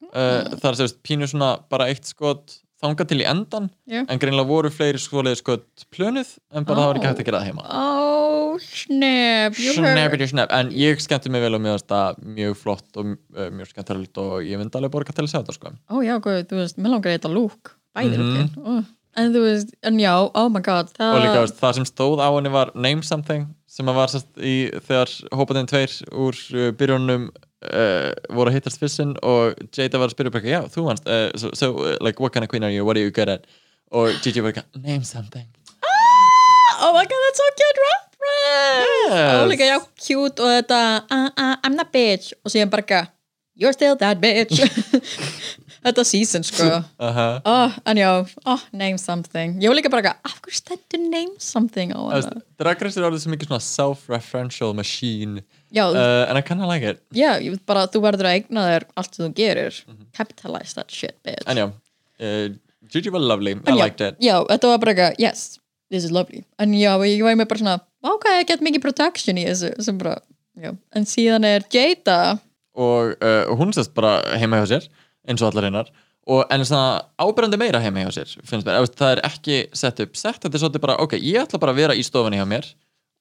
Mm. uh, það er sem sagt pínu svona bara eitt skot þangað til í endan Já. en greinlega voru fleiri skoleiði skot plönuð en bara það var ekki hægt að gera það heima Ó, snap you heard- Snappity snap, en ég skemmti mig vel og mér finnst það mjög flott og uh, mjög skemmtilegt og ég myndi alveg borga til að sjá þetta sko. Ó já, guð, þú veist, mér langar þetta lúk Bæði Mhm. lúkin uh. En þú veist, en já, oh my god það... og líka veist, það sem stóð á henni var name something sem að var sest, í, þegar hópaðin tveir úr uh, byrjunum uh, voru að hittast fyrst og Jada var að spyrja bara eitthvað, já, þú vannst uh, so, so, uh, like, what kind of queen are you, what are you good at og Gigi var eitthvað, name something Oh my god, that's so cute reference yes. Og líka, já, cute og þetta uh, uh, I'm not bitch Og síðan bara ekki You're still that bitch Þetta season, sko uh -huh. Oh, en já, oh, name something Ég var líka bara eitthvað, af hverju stendur name something á hana? Drag Race er orðið svo mikið svona self-referential machine Já, uh, and I kinda like it já, ég veit bara þú verður að eigna þér allt sem þú gerir Mhm. Capitalize that shit, bitch en já, uh, Gigi var lovely, I En já, liked it Já, þetta var bara eitthvað, yes, this is lovely En já, ég var með bara svona, ok, ég get mikið production í þessu sem bara, já En síðan er Jada og uh, hún sest bara heima hjá sér eins og allar hinnar og en svona ábyrjandi meira heima hjá sér finnst mér, Ef veist, það er ekki sett upp sett, þetta er svolítið bara, ok, ég ætla bara að vera í stofunni hjá mér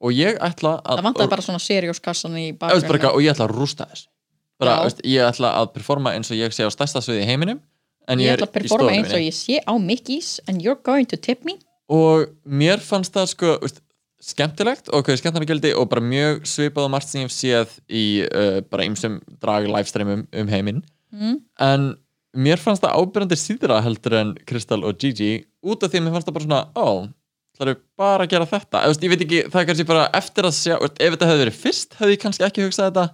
og ég ætla að Það vantaði bara svona serióskassan í Ef veist, bara, bakgrunni eitthvað, og ég ætla að rústa þess bara, Já. veist, ég ætla að performa eins og ég sé á stærsta sviði í heiminum en Ég ég, ætla að er í performa stofunni eins og minni ég sé á Mickey's And you're going to tip me og mér fannst það sko veist, skemmtilegt og hvað skemmtana gildi og bara mjög svipað og margt sem ég hef séð í uh, bara ymsum drag livestreamum um heiminn Mm. en mér fannst það ábyrjandi síðra heldur en Kristall og Gigi út af því að mér fannst það bara svona ó, það eru bara að gera þetta Eða, veist, ég veit ekki, það er kannski bara eftir að sjá veist, ef þetta hefði verið fyrst, hefði ég kannski ekki hugsað þetta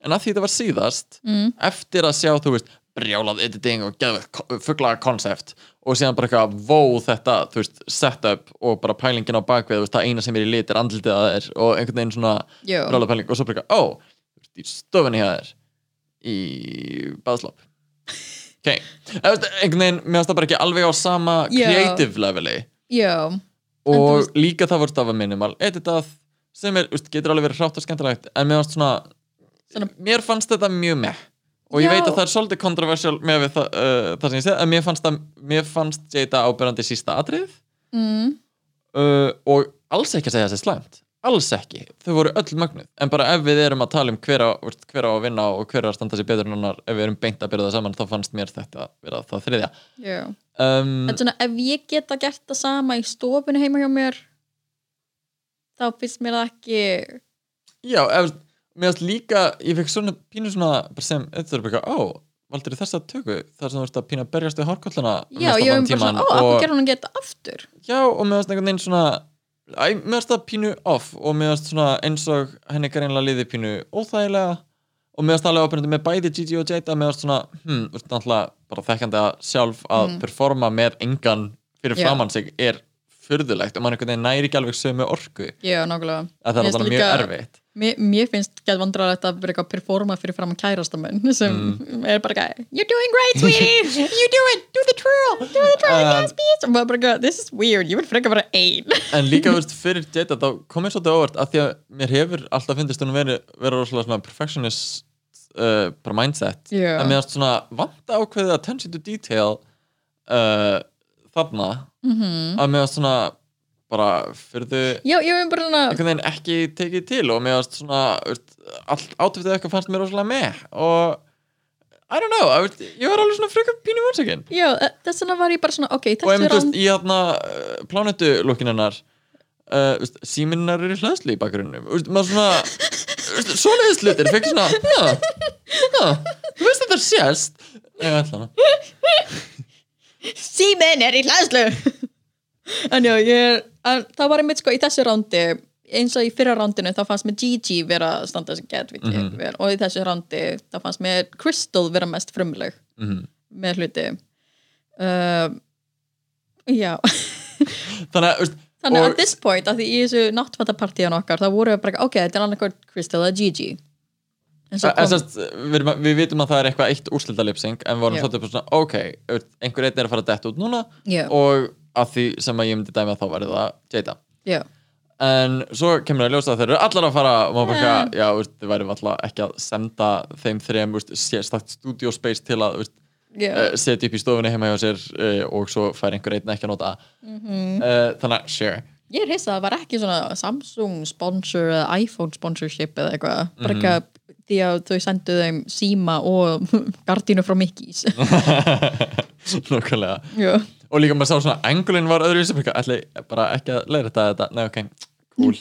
en að því þetta var síðast mm. eftir að sjá, þú veist, brjálað editing og geðveikt fugglaða koncept og síðan bara eitthvað, vó þetta, þú veist setup og bara pælingin á bakvið þú veist, það eina sem er í lit er andlitið að þér og einhvern veginn svona Já, brjálað pæling og svo bara eitthvað, ó, þú veist, í stofunni hjá þér í baðslopp ok, Eða, þú veist, einhvern veginn, mér finnst það bara ekki alveg á sama Já. creative leveli já En þú og líka það voru stafa minimal editað, sem er, þú veist, getur alveg verið hrátt og skemmtilegt, en mér fannst svona Svona- mér fannst þetta mjög með og ég Já. veit að það er svolítið kontroversial með við það, uh, það sem ég segi, en mér fannst, það, mér fannst Jada ábyrjandi sísta atrið mm. uh, og alls ekki að segja þessi slæmt alls ekki, þau voru öll mögnuð en bara ef við erum að tala um hver á, úrst, hver á að vinna og hver á að standa sér betur en annar ef við erum beint að byrja það saman, þá fannst mér þetta vera það þriðja Já, um, en svona ef ég geta gert það sama í stofinu heima hjá mér þá finnst mér það ekki Já, ef, mér finnst líka ég fekk svona pínu svona bara sem, þetta er bara, eitthvað, ó, valdur þessa tökku þar sem þú ert að pína að berjast við hárkollana Já, ég hef bara svona, ó, af hverju og, gerði hún ekki þetta aftur? já, og mér finnst einhvern veginn svona æ, mér finnst það pínu off og mér finnst svona eins og henni greinlega liði pínu óþægilega og mér finnst alveg ábyrjandi með bæði Gigi og Jada mér finnst svona, hm, þú ert náttúrulega bara þekkandi að sjálf að Mhm. performa með engan fyrir Já. framann sig er furðulegt og maður einhvern veginn næri ekki alveg sömu orku já, nákvæmlega að það er Mér finnst alltaf mjög líka- erfitt Mér, mér finnst gæð vandrarlegt að vera eitthvað að performa fyrir fram að kærasta menn sem er bara eitthvað You're doing great, sweetie! you do it! Do the twirl! Do the twirl! En- yes, bitch! Og maður bara eitthvað, this is weird, ég vil frekar vera ein en líka þú veist, fyrir Jada þá kom ég svolítið óvart að því að mér hefur alltaf fyndist hún verið vera rosalega svona perfectionist uh, bara mindset Já. en mér erst svona vanta ákveðið attention to detail uh, þarna -hmm. að mér erst svona bara fyrðu Já, ég er bara svona einhvern veginn ekki tekið til og mér varst svona veist, allt átöftið eitthvað fannst mér rosalega með og I don't know, I, veist, ég var alveg svona frekar pínu vonsakinn Já, eh, þess vegna var ég bara svona, ok, og þetta einmitt er þú án veist, í hérna, eh, þarna plánetu lukkin hennar uh, veist, síminnar eru hlæðsli í bakgrunnum veist, maður svona veist, svoleiðis hlutir, fekk svona já, já, þú veist þetta sést Nei, ég ætla hana Síminn er í hlæðslu En já, ég er en Það var einmitt sko í þessu rándi eins og í fyrra rándinu þá fannst mér Gigi vera að standa sem get, veit ég Mhm. vel og í þessu rándi þá fannst mér Crystal vera mest frumleg Mhm. með hluti um, já þannig að veist, þannig Og- að this point, að því í þessu náttfattapartíðan okkar, þá voru við bara, ok, þetta er annarkvæmt Crystal eða Gigi en svo En kom, sérst, Eh, við, erum að- við vitum að það er eitthvað eitt úrslildalipsing en vorum Já. svolítið bara svona, ok, einhver einn er að fara að detta út núna Já. og að því sem að ég myndi dæmi að þá væri það Jada já, en svo kemur að ljósa að þeir eru allar að fara og maður bara, Yeah. yeah. já, veist, við værum alltaf ekki að senda þeim þrejum, veist, sérstakt studio space til að, veist, já, yeah. setja upp í stofunni heima hjá sér uh, og svo fær einhver einn ekki að nota mm þannig að, sure ég er hissa að það var ekki svona Samsung sponsor eða iPhone sponsorship eða eitthvað, bara ekki að því að þau sendu þeim síma og gardínu frá Mickey's Nákvæmlega já, og líka maður sá svona engulinn var öðru sem ætli bara ekki að leira þetta, þetta. Nei, ok, cool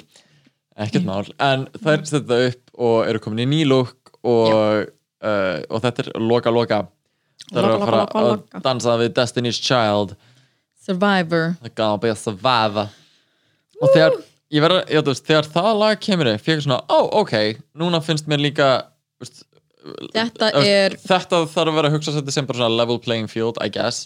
ekkert mál, en þær setja það upp og eru komin í nýlúk og, uh, og þetta er loka loka það eru Loka, að loka, fara loka, loka. að dansa við Destiny's Child Survivor það gana að byrja að svæfa og þegar, ég verða, ég þú veist þegar það lag kemur upp, ég er svona, ó, ok núna finnst mér líka þú veist, þetta Þú veist, er, þetta þarf að vera að hugsa þetta sem bara svona level playing field, I guess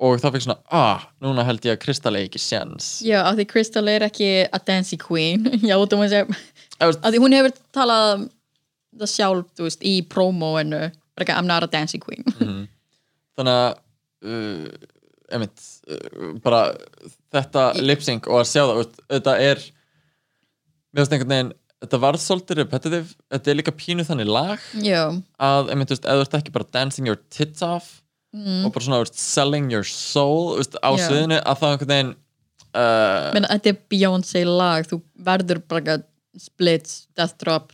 og það fikk svona, ah, núna held ég að Kristall eigi ekki séns já, að því Crystal er ekki a dancing queen, já, þú veist ég Ef þú veist, að því hún hefur talað um það sjálf, þú veist, í promóinu bara ekki, I'm not a dancing queen þannig að uh, emitt, uh, bara þetta lipsync og að sjá það þú veist, þetta er mér finnst einhvern veginn, þetta varð svolítið repetitive, þetta er líka pínu þannig lag já, að, emitt, þú veist, eða þú ert ekki bara dancing your tits off og bara svona, þú veist, selling your soul þú veist, á Mm. Já. sviðinu, að það einhvern veginn uh, menn þetta er Beyoncé lag þú verður bara ekki að splits, death drop,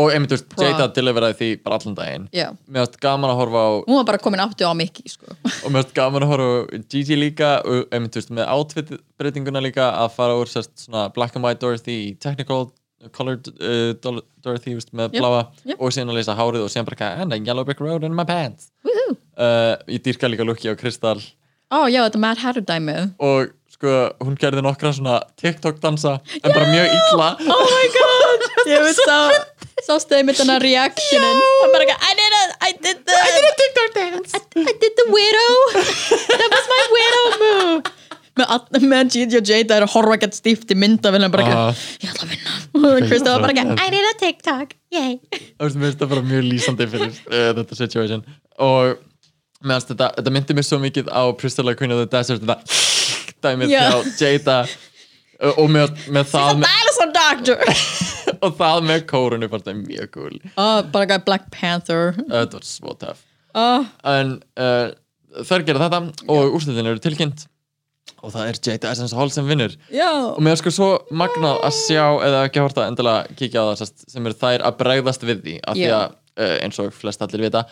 og einmitt, þú veist, Bra. Jada deliveraði því bara allan daginn já mér finnst gaman að horfa á hún var bara komin aftur á Mickey, sko og mér finnst gaman að horfa á Gigi líka og einmitt, þú veist, með outfit breytinguna líka að fara úr sérst svona black and white Dorothy í technical colored uh, Dol- Dorothy, þú veist, með Yep, bláa yep. og síðan að leysa hárið og síðan bara eitthvað, and a yellow brick road in my pants Woohoo. uh, ég dýrka líka lukki á Kristall ó, já, þetta Mad Hatter dæmið og sko, hún gerði nokkra svona TikTok dansa, en bara mjög illa oh my god, ég veit sá sástuði mitt hana reactionin hann bara ekki, I did a, I did the I did a TikTok dance I, did the widow that was my widow move með all- með Gigi og Jada er að horfa ekkert stíft í myndavillin bara Ah. ekki, ég ætla að vinna og Kristof var bara ekki, I did a TikTok yay Þú veist, mér finnst það bara mjög lýsandi fyrir uh, þetta situation og meðan þetta, þetta myndi mér svo mikið á Priscilla Queen of the Desert þetta dæmið Já. hjá Jada uh, og með, með það með, dinosaur doctor og það með kórunu fannst það mjög cool uh, oh, bara ekki Black Panther þetta var svo töff oh, en uh, þær gera þetta og úrslitin eru tilkynnt og það er Jada Essence Hall sem vinnur já, og mér er sko svo magnað að sjá eða ekki horta endilega kíkja á það sest, sem eru þær að bregðast við því af því Já. að eh, eins og flest allir vita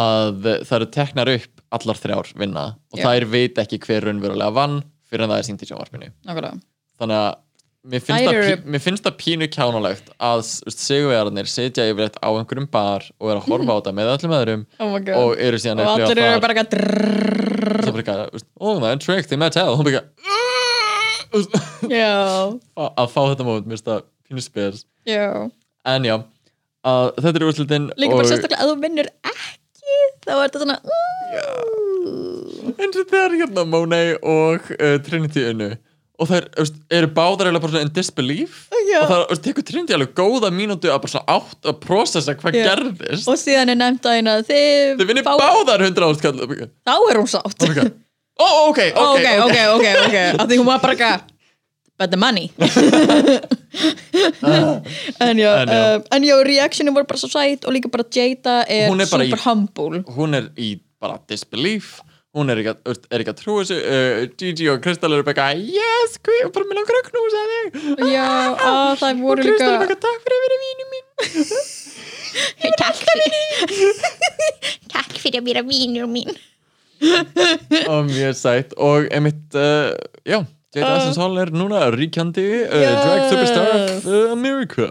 að það eru teknar upp allar þrjár vinna og Já. þær veit ekki hver raunverulega vann fyrir en það er sýnt í sjónvarpinu nákvæmlega þannig að mér finnst, Þær það, eru- pí, mér finnst það pínu kjánulegt að sigurvegarnir sitja yfirleitt á einhverjum bar og eru að horfa á þetta með öllum öðrum Mm. Oh my God. og eru síðan og að allir upplifa eru bara ekki og það er bara eitthvað, veist, oh það er trick, they might tell og hún bara "Ah!" eitthvað, já, að að fá þetta moment, mér finnst það pínu spes já en já, að þetta er úrslutin líka og bara sérstaklega að þú vinnur ekki þá er þetta svona mm, eins og þegar hérna Monet og uh, Trinity unnu og þær þú veist, eru báðar eiginlega bara svona in disbelief Já. og það þú veist, tekur Trinity alveg góða mínútu að bara svona átt að processa hvað Já. gerðist og síðan er nefnt að hérna þau þið vinni fá- báðar 100 ást kall oh, þá er hún sátt my God. oh, ok, ok, ok, ok, ok, ok af því hún var bara eitthvað but the money en já, Ah. En já. um, en já reactionu voru bara svo sætt og líka bara Jada er, Hún er bara í- super humble hún er í bara disbelief hún er ekki, að- þú veist, er ekki að trúa þessu uh, Gigi og Kristall eru bara eitthvað yes, hví, bara mér langar að knúsa þig já, að það og voru Kristall er bara líka Ah. eitthvað takk fyrir að vera vínum mín Takk fyrir Takk fyrir að vera vínur mín og mjög sætt og emitt, uh, já Jade Uh. Essence Hall er núna ríkjandi uh, Yes. drag superstar of America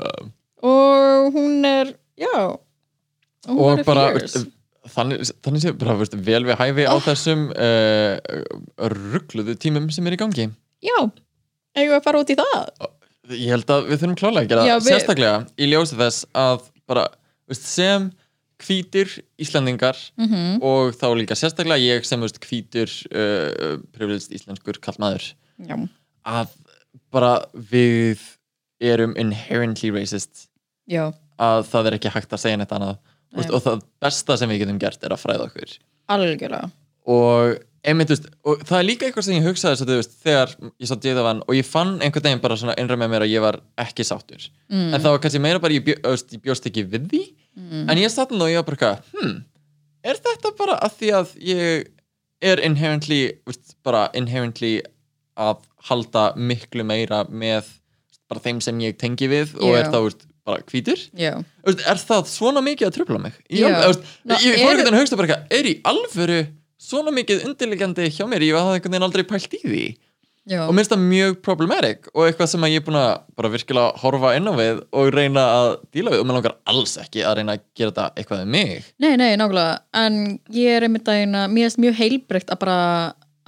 og hún er, já hún og er bara fierce. veist, þannig, þannig sé bara veist, vel við hæfi á þessum uh, ruggluðu tímum sem er í gangi já, eigum við að fara út í það ég held að við þurfum klálega að gera Já, Já, við- sérstaklega í ljósi þess að bara, veist, sem hvítir Íslandingar Mhm. og þá líka sérstaklega ég sem veist, hvítur uh, privilegist íslenskur kallmaður já, að bara við erum inherently racist já, að það er ekki hægt að segja neitt annað Nei. Nei. og það besta sem við getum gert er að fræða okkur algjörlega og, einmitt, þú veist, og það er líka eitthvað sem ég hugsaði svo, veist, þegar ég satt dýða vann og ég fann einhvern veginn bara svona innra með mér að ég var ekki sáttur Mm. en það var kannski meira bara ég, bjó, þú veist, ég bjóst ekki við því en ég satt nú og ég var bara eitthvað, hmm, er þetta bara að því að ég er inherently þú veist, bara inherently að halda miklu meira með þú veist, bara þeim sem ég tengi við og Já. er þá þú veist, bara hvítur já, Þú veist, er það svona mikið að tröfla mig ég, Já. yeah. veist, Ná, ég fór eru- einhvern veginn að hugsa bara eitthvað, er í alvöru svona mikið undirlegjandi hjá mér ég hafði einhvern veginn aldrei pælt í því já og minnst það mjög problematic og eitthvað sem að ég er búin að bara virkilega horfa inn á við og reyna að díla við og mér langar alls ekki að reyna að gera þetta eitthvað um mig Nei, nei, nákvæmlega, en ég er einmitt að eina, mér erst mjög heilbreykt að bara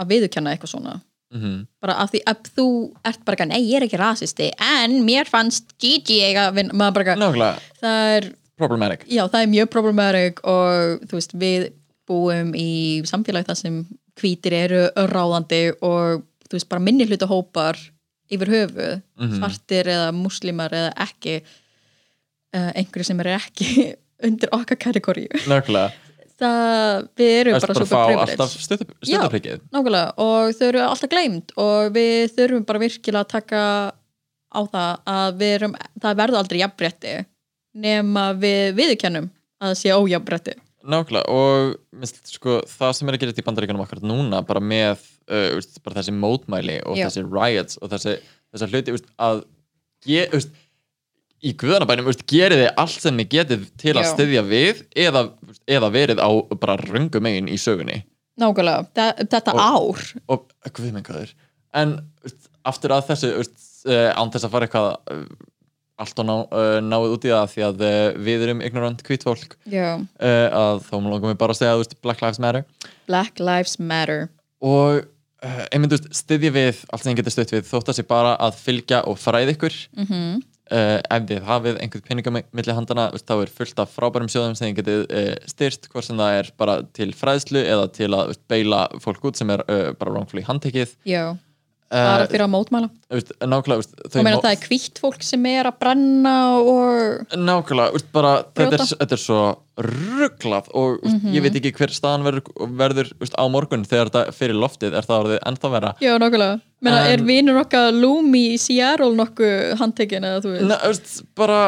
að viðurkenna eitthvað svona mm -hmm. bara af því að þú ert bara ekki, nei, ég er ekki rasisti en mér fannst Gigi eiga að vinna, maður bara, nákvæmlega, það er problematic já, það er mjög problematic og þú veist, við búum í samfélagi þar sem hvítir eru ráðandi og þú veist, bara minni hluta hópar yfir höfu, Mhm. svartir eða muslimar eða ekki uh, einhverju sem er ekki undir okkar kategóriu nákvæmlega, það, við erum erst bara bara að super fá privilege alltaf stöðaprikkið nákvæmlega, og þau eru alltaf gleymd og við þurfum bara virkilega að taka á það að við erum það verður aldrei jafnbretti nema við viðurkennum að það sé ójafnbretti Nákvæmlega og minnst, sko, það sem er að gera þetta í bandaríkunum akkurat núna bara með uh, úst, bara þessi mótmæli og Já. þessi riots og þessi, þessi hluti úst, að ge, úst, í guðanabænum úst, gerið þið allt sem þið getið til að Já. styðja við eða, úst, eða verið á bara röngu megin í sögunni nákvæmlega, Þa- þetta ár og eh, guð minn góður en úst, aftur að þessu úst, uh, án þess að fara eitthvað uh, allt og ná, uh, náið út í það því að uh, við erum ignorant hvít fólk Já. uh, að þá langum við bara að segja úst, Black Lives Matter Black Lives Matter og uh, einmitt þú veist, styðja við allt sem þið getur stutt við þótt að sé bara að fylgja og fræða ykkur mm -hmm. uh, ef þið hafið einhvern peningum milli handana þú veist, þá er fullt af frábærum sjóðum sem þið getið uh, styrt hvort sem það er bara til fræðslu eða til að þú veist, beila fólk út sem er uh, bara wrongfully handtekið Já, bara uh, fyrir að mótmæla þú veist, nákvæmlega þú veist, og meina mó- það er hvítt fólk sem er að brenna og Nákvæmlega, úst, bara, þetta, er, Brjóta. Mhm. þetta er svo rugglað og úst, ég veit ekki hver staðan verður, verður úst, á morgun þegar þetta fyrir loftið er það orðið ennþá vera Já, nákvæmlega. Meina, En- er vinur okkar Lumi í Seattle nokkuð handtekinn eða þú veist? Nei, veist, bara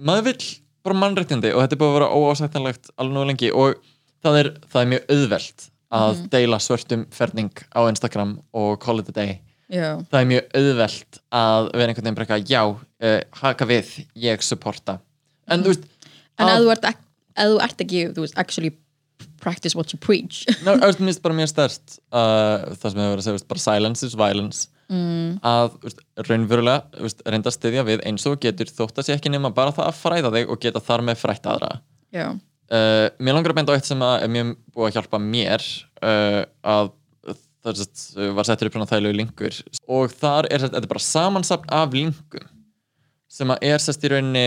maður vill bara mannréttindi og þetta er búið að vera óásættanlegt alveg nú lengi og það er, það er mjög auðvelt að Mhm. deila svörtum ferning á Instagram og call it a day Já, það er mjög auðvelt að vera einhvern veginn bara eitthvað, já, uh, haka við ég supporta en þú veist, en að- ef þú ert, ek- ef þú ert ekki, þú veist, actually practice what you preach. Ná, auðvitað minnst bara mjög stærst uh, það sem hefur verið að segja, veist, bara silence is violence mm. að veist, raunverulega veist, reynda að styðja við eins og þú getur þótt að sé ekki nema bara það að fræða þig og geta þar með frætt aðra Já, uh, Mér langar að benda á eitt sem að er mjög búið að hjálpa mér uh, að það er satt, uh, var settur upp svona þægilegu linkur og þar er þetta þetta er bara samansapn af linkum sem að er sest í rauninni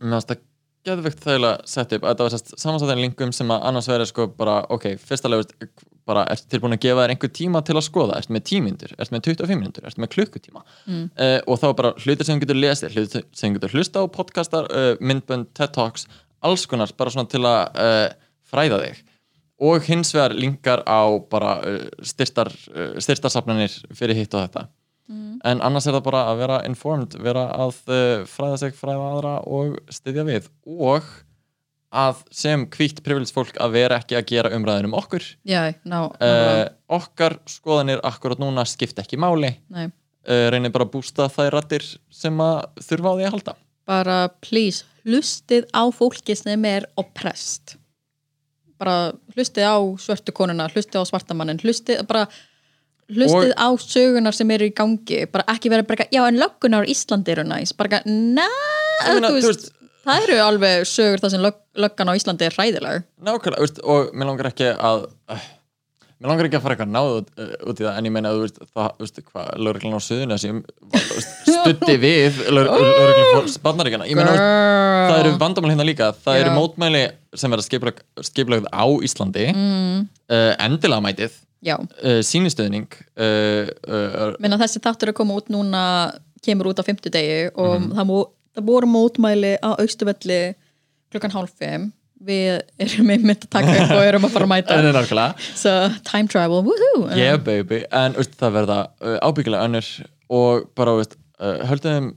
mér finnst það geðveikt þægilega sett upp að þetta var sest samansapn af linkum sem að annars verður sko bara ok, fyrsta lögur bara, ertu tilbúin að gefa þér einhver tíma til að skoða, ertu með tímyndur, ertu með 25 minútur, ertu með klukkutíma mm. og þá er bara hlutir sem þú getur lesið, hlutir sem þú getur hlusta á podcastar, uh, myndbönd, TED Talks, alls konar, bara svona til að uh, fræða þig og hins vegar linkar á bara uh, styrtar, uh, styrtarsafnanir fyrir hitt og þetta en annars er það bara að vera informed vera að uh, fræða sig, fræða aðra og styðja við og að sem hvítt privilege fólk að vera ekki að gera umræðin um okkur Já, ná, uh, okkar skoðanir akkurat núna skipta ekki máli nei, uh, reynir bara að bústa þær rættir sem að þurfa á því að halda bara please, hlustið á fólki sem er opprest bara hlustið á svörtu konuna, hlustið á svartamannin hlustið bara hlustið Og- á sögunar sem eru í gangi bara ekki vera bara, eitthvað, já en löggunar á Íslandi eru næs, bara eitthvað, na Ég meina, þú þú veist, það eru alveg sögur það sem lög, löggan á Íslandi er hræðileg Nákvæmlega, veist, og mér langar ekki að uh, mér langar ekki að fara eitthvað náð út, uh, út í það, en ég meina að þú veist, það, þú veist, hvað, lögreglan á suðuna sem stutti við lög- lögreglan spannaríkana, ég meina, þú veist, það eru vandamál hérna líka, það Já. eru mótmæli sem verða skipulögð skipulögð á Íslandi mm. uh, endilega mætið já, uh, sínistöðning uh, uh, minna þessi þáttur er að koma út núna kemur út á fimmtudegi og Mhm. það, mó, það voru mótmæli á austuvelli klukkan hálf fimm við erum einmitt að taka upp og erum að fara að mæta en er nákvæmlega so time travel, woohoo yeah baby, en veist, það verða uh, ábyggilega önnur og bara veist, uh, höldum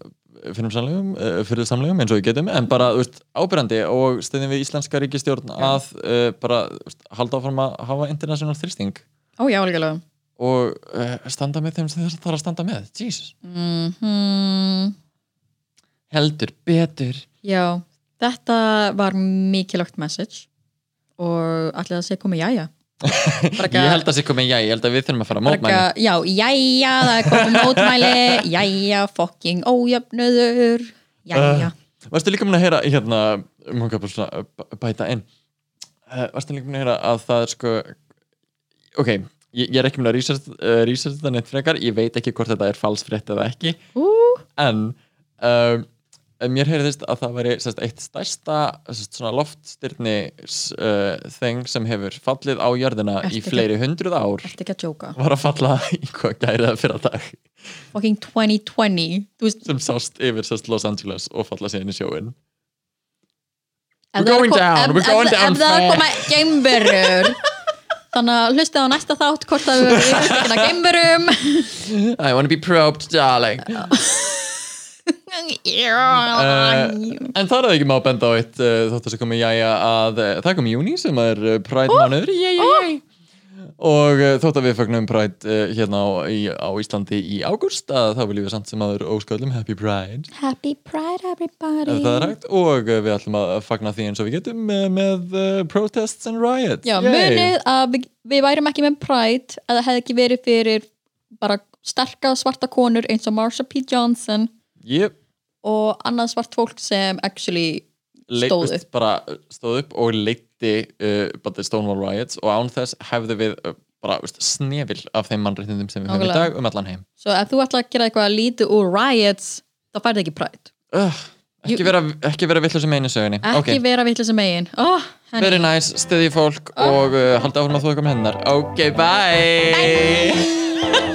fyrir samlegum, uh, fyrir samlegum eins og við getum en bara þú veist, ábyrjandi og stöðum við íslenska ríkistjórn að uh, bara þú veist, halda áfram að hafa international þrýsting ó já, algjörlega og uh, standa með þeim sem þess þarf að standa með Jesus, hmm, heldur betur já, þetta var mikilvægt message og allir að segja komið jæja Bara ég ekki að- held að sé komið, já, ég held að við þurfum að fara að bara ekki mótmæli að- já, jæja, það er komið mótmæli jæja, fucking ójöfnöður Uh. jæja, Eh, Varstu líka mun að heyra hérna, mjög bara svona b- bæta inn uh, Varstu líka mun að heyra að það er sko ok, ég, ég er ekki mun að research, uh, research þetta neitt frekar, ég veit ekki hvort þetta er falsfrétt eða ekki ú, en um, mér heyrðist að það væri sest, eitt stærsta sest, svona loftstyrni uh, þeng sem hefur fallið á jörðina Ertu í ekki- fleiri hundruð ár ertu ekki að jóka var að falla í hvað gæriða fyrir dag fucking 2020 þú veist, sem sást yfir sest, Los Angeles og falla síðan í sjóin We're ef það er að going kom- down, ef- we're going ef- down ef það er að koma geimverur þannig að hlustið á næsta þátt hvort það við erum að geimverum I wanna be probed, darling Já. Uh, En þar er það ekki má benda á eitt uh, þóttu sem komið jæja að uh, það kom í júni sem er uh, Pride oh. mánuður jæja, jæja. og uh, þótt að við fögnum Pride uh, hérna á, í, á Íslandi í ágúst að þá viljum við samt sem aður ósköldum Happy Pride Happy Pride everybody ef það er hægt og uh, við ætlum að fagna því eins og við getum með, með uh, protests and riots já, Yay. munið að við, við værum ekki með Pride að það hefði ekki verið fyrir bara sterka svarta konur eins og Marsha P. Johnson Ég og annað svart fólk sem actually leit- Stóð veist, bara uh, stóð upp og leitti uh, bara the Stonewall Riots og án þess hefðu við uh, bara veist, snefil af þeim mannréttindum sem við höfum í Nákvæmlega. dag um allan heim svo ef þú ætla að gera eitthvað lítið úr riots þá færði ekki Pride uh, ekki, Jú- vera, ekki vera villu sem einu sögunni ekki Ok. vera vitlega sem megin oh, henni. Very nice, styði fólk og uh, halda áfram að þú eitthvað með hennar Ok, bye.